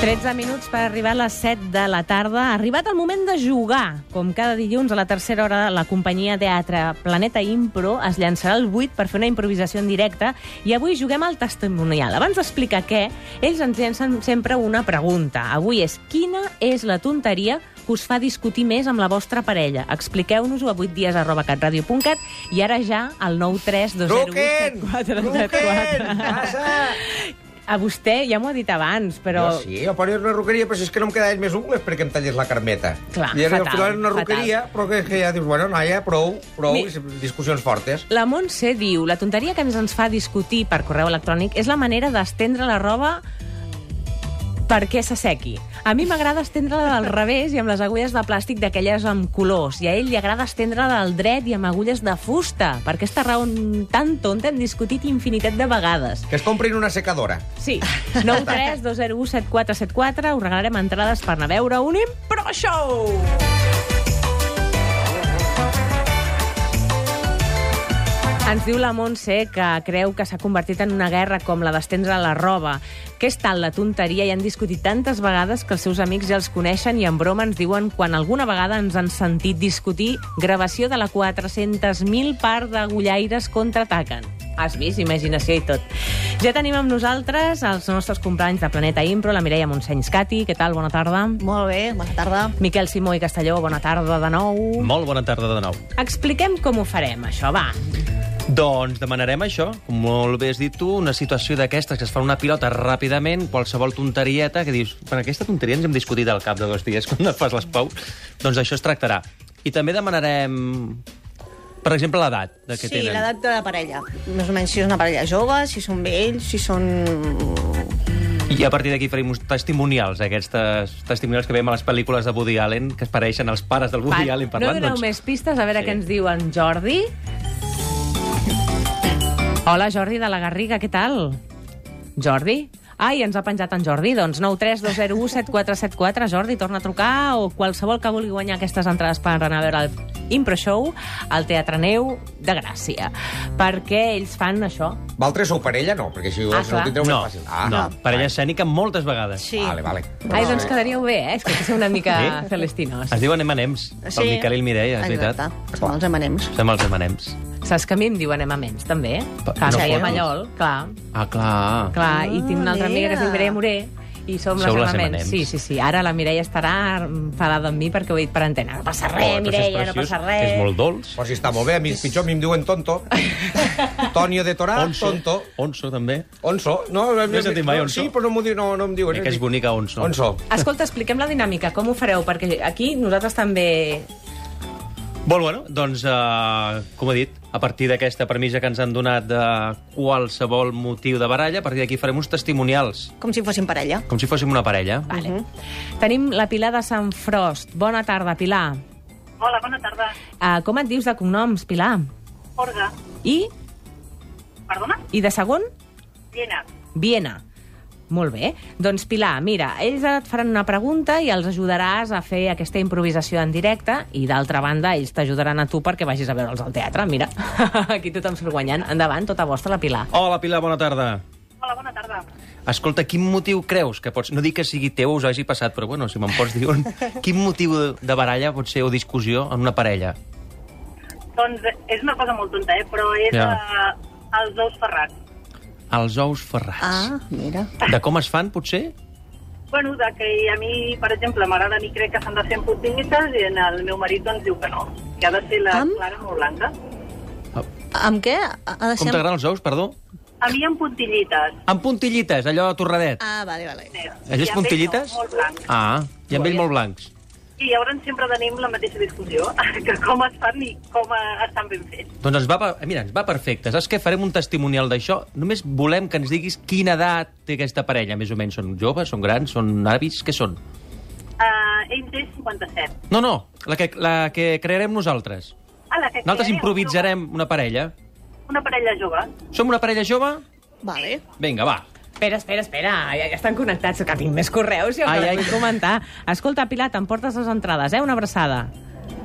13 minuts per arribar a les 7 de la tarda. Ha arribat el moment de jugar. Com cada dilluns a la tercera hora, la companyia teatre Planeta Impro es llançarà al 8 per fer una improvisació en directe i avui juguem al testimonial. Abans d'explicar què, ells ens llencen sempre una pregunta. Avui és quina és la tonteria que us fa discutir més amb la vostra parella? Expliqueu-nos-ho a 8 dies arroba catradio.cat i ara ja al 9 3 2 0 Truquen! 4 Truquen! Passa! A vostè ja m'ho ha dit abans, però... Jo sí, jo paro en una roqueria, però si és que no em quedaven més ungles perquè em talles la carmeta. Clar, I fatal, al final era una fatal. roqueria, però que, que ja dius, bueno, noia, prou, prou, Mi- Mi... discussions fortes. La Montse diu, la tonteria que més ens fa discutir per correu electrònic és la manera d'estendre la roba perquè s'assequi. A mi m'agrada estendre-la del revés i amb les agulles de plàstic d'aquelles amb colors, i a ell li agrada estendre-la del dret i amb agulles de fusta. Per aquesta raó tan tonta hem discutit infinitat de vegades. Que es comprin una secadora. Sí, 93 201 7474, us regalarem entrades per anar a veure un Impro Show! Ens diu la Montse que creu que s'ha convertit en una guerra com la d'estendre la roba, que és tal la tonteria i han discutit tantes vegades que els seus amics ja els coneixen i en broma ens diuen quan alguna vegada ens han sentit discutir gravació de la 400.000 part d'agullaires contraataquen. Has vist? Imaginació i tot. Ja tenim amb nosaltres els nostres companys de Planeta Impro, la Mireia Montseny Cati. Què tal? Bona tarda. Molt bé, bona tarda. Miquel Simó i Castelló, bona tarda de nou. Molt bona tarda de nou. Expliquem com ho farem, això, va. Doncs demanarem això, com molt bé has dit tu, una situació d'aquestes que es fa una pilota ràpidament, qualsevol tonterieta, que dius, per aquesta tonteria ens hem discutit al cap de dos dies quan et fas les paus, doncs això es tractarà. I també demanarem, per exemple, l'edat de que sí, tenen. l'edat de la parella. Més o menys si és una parella jove, si són vells, si són... I a partir d'aquí farem uns testimonials, aquests testimonials que veiem a les pel·lícules de Woody Allen, que es pareixen als pares del Woody Va, Allen no parlant. doneu doncs, més pistes, a veure Sí. què ens diu en Jordi. Hola, Jordi de la Garriga, què tal? Jordi? Ai, ens ha penjat en Jordi. Doncs 932017474. Jordi, torna a trucar o qualsevol que vulgui guanyar aquestes entrades per anar a veure el Impro Show al Teatre Neu de Gràcia. Perquè ells fan això. Valtres sou parella, no? Perquè així Ah, ah, no clar. ho tindreu No, més fàcil. Ah, no, parella escènica moltes vegades. Sí. Vale, vale. Ai, doncs quedaríeu bé, eh? És que ser una mica Sí? celestinos. Es diuen M&M's, pel Miquel i el Mireia, és veritat. Exacte, som els emanems. Som els M&M's. Saps que a mi em diuen Emma Menys, també? Pa- Que no no fotis. Mallol, clar. Ah, clar. Clar, Ah, i tinc una altra amiga que es diu Mireia mira. Moré, i som les Sou les Amaments. M&Ms. Sí, sí, sí. Ara la Mireia estarà enfadada amb mi perquè ho he dit per antena. No passa res, Oh, doncs és Mireia, no preciós, passa res. És molt dolç. Però si està molt bé, a mi és pitjor, a mi em diuen tonto. Tonio de Torà, Ah, tonto. Onso, també. Onso. No, No he sentit mai onso. Sí, però no, m'ho di- no, no em diuen. Eh, que és bonica, onso. Onso. Escolta, expliquem la dinàmica, com ho fareu? Perquè aquí nosaltres també... Bon, bueno, doncs, eh, com he dit, a partir d'aquesta premissa que ens han donat de qualsevol motiu de baralla, a partir d'aquí farem uns testimonials, Com si fossin parella. com si fóssim una parella. Vale. Mhm. Tenim la Pilar de Sant Frost. Bona tarda, Pilar. Hola, bona tarda. Uh, com et dius de cognoms, Pilar? Orga, I? perdona? I de segon? Llena. Viena. Molt bé. Doncs, Pilar, mira, ells ara et faran una pregunta i els ajudaràs a fer aquesta improvisació en directe i, d'altra banda, ells t'ajudaran a tu perquè vagis a veure'ls al teatre. Mira, aquí tothom surt guanyant. Endavant, tota vostra, la Pilar. Hola, Pilar, bona tarda. Hola, bona tarda. Escolta, quin motiu creus que pots... No dic que sigui teu o us hagi passat, però bueno, si me'n pots dir un... Quin motiu de- de baralla pot ser o discussió en una parella? Doncs és una cosa molt tonta, eh? però és Ja. yeah. uh, els ous ferrats. Els ous ferrats. Ah, mira. De com es fan, potser? Bueno, de que a mi, per exemple, m'agrada a mi crec que s'han de ser amb puntinites i en el meu marit doncs diu que no, que ha de ser la Amb? clara molt blanca. Ah, Amb què? Ha de Com ser... amb- t'agraden els ous, perdó? A mi amb puntillites. Amb puntillites, allò de torradet. Ah, vale, vale. eh? Allò I és amb puntillites? ell No, molt blanc. Ah, i amb ell molt blancs. I llavors sempre tenim la mateixa discussió, que com es fan i com eh, estan ben fets. Doncs ens va, per- mira, ens va perfecte. Saps què? Farem un testimonial d'això. Només volem que ens diguis quina edat té aquesta parella, més o menys. Són joves, són grans, són avis, què són? Uh, ell té 57. No, no, la que, la que crearem nosaltres. Ah, la que Nosaltres creareu, improvisarem una parella. Una, una parella jove. Som una parella jove? Vale. Vinga, va. Espera, espera, espera, ja, ja estan connectats, que tinc més correus i Ai, ai, ai. ai. comentar. Escolta, Pilar, t'emportes les entrades, eh? Una abraçada.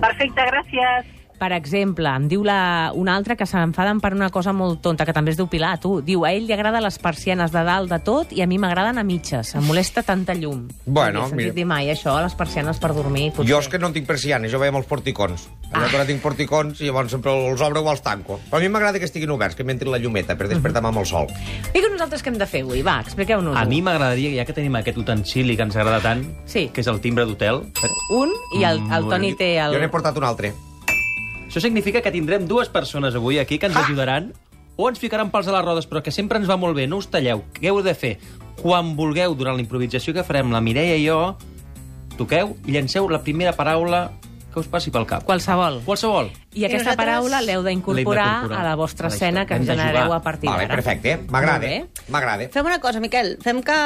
Perfecte, gràcies. Per exemple, em diu la, una altra que s'enfaden per una cosa molt tonta, que també es diu Pilar, tu. Diu, a ell li agrada les persianes de dalt de tot i a mi m'agraden a mitges. Em molesta tanta llum. Bueno, no havia sentit mira. dir mai això, les persianes per dormir. Potser. Ah. Jo és que no en tinc persianes, jo veia molts porticons. Allà quan tinc porticons, llavors sempre els obro o els tanco. Però a mi m'agrada que estiguin oberts, que m'entri la llumeta Mhm. per despertar-me amb el sol. Digue'ns nosaltres què hem de fer avui, va, expliqueu-nos. A mi m'agradaria, ja que tenim aquest utensili que ens agrada tant, Sí. que és el timbre d'hotel, Un, i el, el Mm, Toni té el... Jo n'he portat un altre. això significa que tindrem dues persones avui aquí que ens ajudaran o ens ficaran pals a les rodes, però que sempre ens va molt bé. No us talleu. Què heu de fer? Quan vulgueu, durant la improvisació que farem la Mireia i jo, toqueu i llanceu la primera paraula que us passi pel cap. Qualsevol. Qualsevol. I aquesta nosaltres paraula l'heu l'hem d'incorporar d'incorporar a la vostra a la escena història. que ens Hem de genereu jugar. a partir d'ara. Vale, perfecte, eh? m'agrada, Molt m'agrada. Fem una cosa, Miquel. Fem que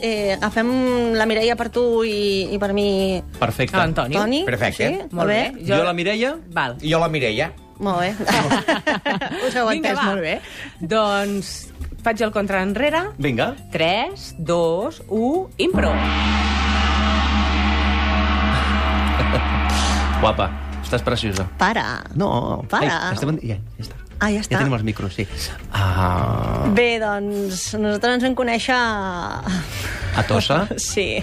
eh, agafem la Mireia per tu i, i per mi... Perfecte. A l'Antoni. Toni? Perfecte. Sí? Molt bé. Jo, la Mireia, Val. I jo la Mireia. Molt bé. Us heu Vinga, entès va. molt bé. Doncs faig el contra enrere. vinga. 3, 2, 1, impro. Guapa, estàs preciosa. Para. No. Para. Ei, estem... en- Ja, ja està. Ah, ja Ja està. tenim els micros, sí. Ah, Bé, doncs, nosaltres ens vam conèixer... a Tossa. Sí,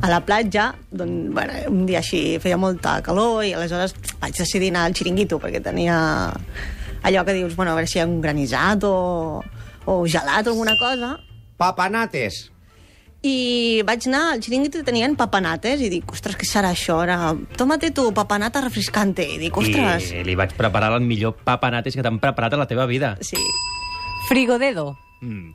a la platja, doncs, bueno, un dia així feia molta calor i aleshores vaig decidir anar al xiringuito perquè tenia allò que dius, bueno, a veure si hi ha un granissat o, o gelat o alguna cosa. Papanates. I vaig anar al xiringuito i tenien papanates i dic, ostres, què serà això? Era, tómate tu papanata refrescante. I dic, ostres... I li vaig preparar el millor papanates que t'han preparat a la teva vida. Sí, Frigodedo. Mm.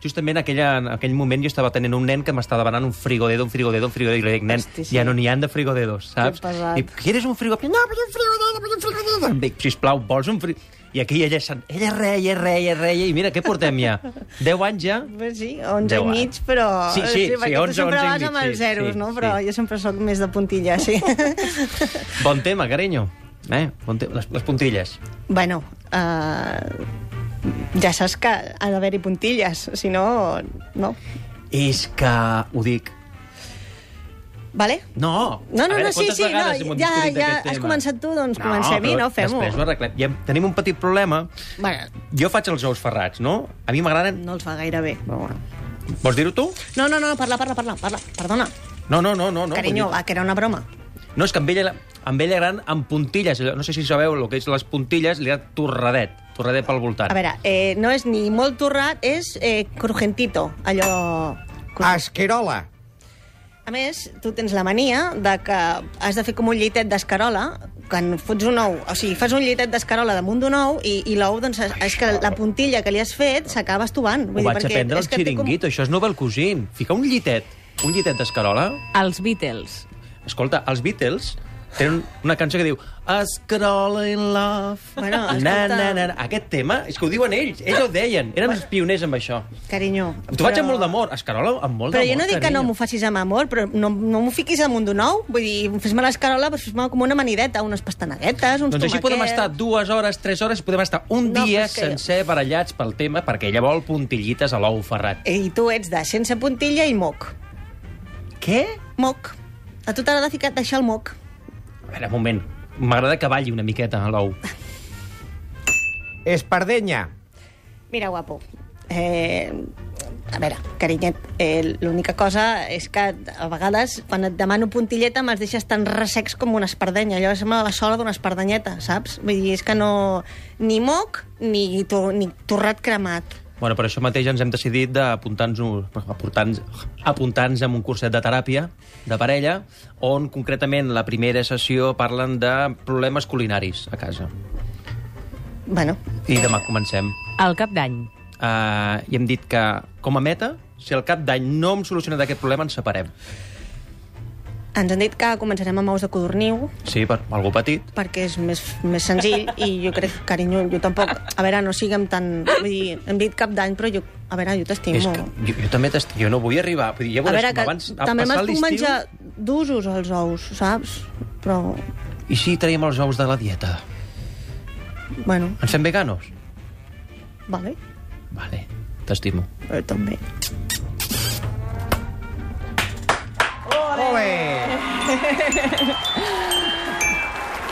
Justament aquella, en aquell moment jo estava tenint un nen que m'estava demanant un frigodedo, un frigodedo, un frigodedo, i li dic, nen, Hosti, sí. ja no n'hi han de frigodedos, saps? pesat. I quieres un frigodedo? No, vull un frigodedo, vull un frigodedo. Em dic, sisplau, vols un frigodedo? I aquí ella, se'n- ella reia, reia, reia, i mira, què portem ja? 10 anys ja? Bé, sí, 11 i Deu anys. mig, però... Sí, sí, sí, perquè 11, tu sempre 11 i vas mig, amb els sí, zeros, sí, no? Però sí. jo sempre sóc més de puntilla, sí. Bon tema, carinyo. Eh? Bon te les, les puntilles. bueno, uh, ja saps que ha d'haver-hi puntilles, si no, no. És que... Ho dic. Vale? No! No, A no, veure, no, sí, quantes sí, vegades hem no, ja, discutit ja aquest has tema? començat tu, doncs comencem i però no, fem-ho. Després ho arreglem. Ja tenim un petit problema. Bueno, Jo faig els ous ferrats, no? A mi m'agraden... no els va gaire bé, però bueno. Vols dir-ho tu? No, no, no, parla, parla, parla, parla. perdona. No, no, no, no. no No, Carinyo, vull va, que era una broma. dir- No, és que amb ella, amb ella gran amb puntilles. No sé si sabeu el que és les puntilles, li ha torradet, torradet pel voltant. A veure, eh, no és ni molt torrat, és eh, crujentito, allò... Esquerola. A més, tu tens la mania de que has de fer com un llitet d'escarola, quan fots un ou, o sigui, fas un llitet d'escarola damunt d'un ou i, i l'ou, doncs, és- és que la puntilla que li has fet s'acaba estovant. Ho vaig perquè aprendre és al que té com- xiringuito, això és Nobel Cuisine. Fica un llitet, un llitet d'escarola. Els Beatles. Escolta, els Beatles tenen una cançó que diu Escarola in love. Bueno, na, escolta. na, na, na. Aquest tema, és que ho diuen ells, ells ho deien, eren els pioners amb això. Carinyo. T'ho faig amb molt d'amor, Escarola amb molt Però d'amor. jo no dic que no m'ho carinyo. facis amb amor, però no, no m'ho fiquis damunt d'un ou. Vull dir, fes-me l'escarola, però fes-me com una manideta, unes pastanaguetes, uns Doncs així podem tomaquets. estar dues hores, tres hores, podem estar un No, dia però és que- sencer barallats pel tema, perquè ella vol puntillites a l'ou ferrat. I tu ets de sense puntilla i moc. Què? Moc. A tu t'agrada ficar, deixar el moc. A veure, un moment. M'agrada que balli una miqueta a l'ou. Espardenya. Mira, guapo. Eh, a veure, carinyet, eh, l'única cosa és que a vegades quan et demano puntilleta me'ls deixes tan ressecs com una espardenya. Allò sembla la sola d'una espardenyeta, saps? Vull dir, és que no... Ni moc ni, to, ni torrat cremat. Bueno, per això mateix ens hem decidit d'apuntar-nos apuntar-nos- apuntar-nos en un curset de teràpia de parella, on concretament la primera sessió parlen de problemes culinaris a casa. Bueno, I demà comencem. Al cap d'any. Uh, I hem dit que, com a meta, si al cap d'any no hem solucionat aquest problema, ens separem. ens han dit que començarem amb ous de codorniu, Sí, per algú petit. perquè és més, més senzill i jo crec, carinyo, jo tampoc... A veure, no siguem tan... Vull dir, hem dit cap d'any, però jo A veure, jo t'estimo. És que jo, jo també t'estimo, jo no vull arribar. Vull dir, ja A veure, veuràs com que abans, a també passar me'ls puc l'estiu... menjar d'usos, els ous, saps? Però, I si traiem els ous de la dieta? bueno, Ens fem veganos? vale. Vale, t'estimo. Jo també. Ole!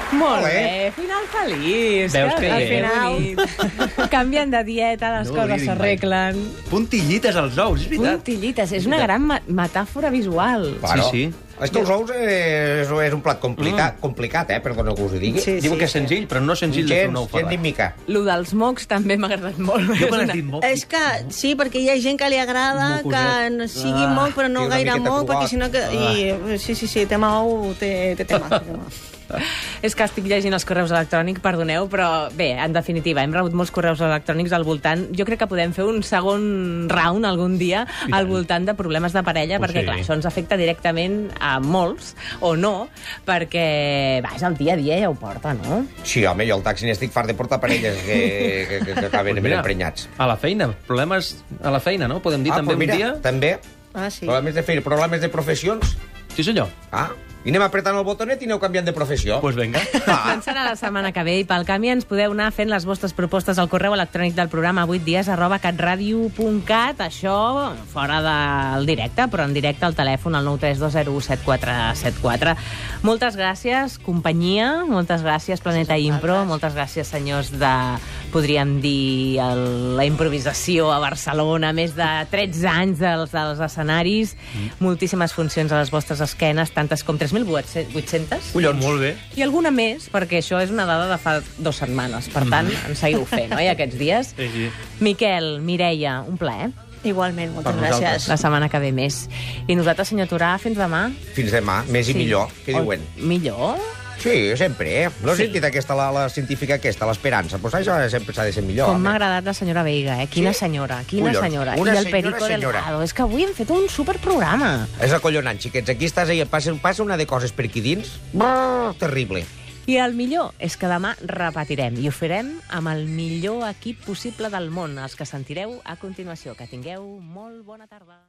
Molt Molt bé, bé. final feliç. Veus que al bé. final canvien de dieta, les no No ho coses diguin mai. s'arreglen. Puntillites als ous, és veritat. Puntillites, és una gran ma- metàfora visual. Claro. sí. És que els ous és, és un plat complicat, mm. complicat eh? Perdona que us ho digui. Sí, Diu que és senzill, però no senzill de fer un gens, ou gens ni ferrat. mica. Lo dels mocs també m'ha agradat molt. Jo És me una- l'he dit molt. És que sí, perquè hi ha gent que li agrada Mocoset. que no sigui Ah, moc, però no i una gaire miqueta moc, provat. perquè si no... Que... I, sí, sí, sí, tema ou, té, té tema. té tema. És que estic llegint els correus electrònics, perdoneu, però bé, en definitiva, hem rebut molts correus electrònics al voltant. Jo crec que podem fer un segon round algun dia al voltant de problemes de parella, Pues perquè sí. clar, això ens afecta directament a molts, o no, perquè va, és el dia a dia ja ho porta, no? Sí, home, jo al taxi n'estic fart de portar parelles que, que, que, que acaben Doncs ben mira, emprenyats. A la feina, problemes a la feina, no? Podem dir ah, també doncs mira, un dia... també. Ah, sí. Problemes de feina, problemes de professions. Sí, senyor. Ah, i anem apretant el botonet i aneu canviant de professió. Doncs pues vinga. Ah, Començarà la setmana que ve i pel canvi ens podeu anar fent les vostres propostes al correu electrònic del programa 8 dies arroba catradio.cat això fora del directe, però en directe al telèfon al 932017474 Moltes gràcies, companyia, moltes gràcies Planeta Impro, moltes gràcies senyors de, podríem dir, el, la improvisació a Barcelona, més de 13 anys dels, dels escenaris, moltíssimes funcions a les vostres esquenes, tantes com 3.800? Collons. Molt bé. I alguna més, perquè això és una dada de fa dues setmanes. Per tant, Mm. en seguiu fent, oi, aquests dies? Sí, sí. Miquel, Mireia, un plaer. Igualment, moltes Per gràcies. La setmana que ve més. I nosaltres, senyor Turà, fins demà. Fins demà, més i millor. Què diuen? O, millor? Sí, sempre, eh? No has Sí. sentit aquesta, la, la científica aquesta, l'esperança. Pues això sempre s'ha de ser millor. Com m'ha home. agradat la senyora Veiga, eh? Quina Sí? senyora, quina Collons, senyora. una I el senyora, Perico del senyora. Prado. És que avui hem fet un superprograma. És acollonant, xiquets. Aquí estàs i passa, passa una de coses per aquí dins. Brrr, terrible. I el millor és que demà repetirem i ho farem amb el millor equip possible del món, els que sentireu a continuació. Que tingueu molt bona tarda.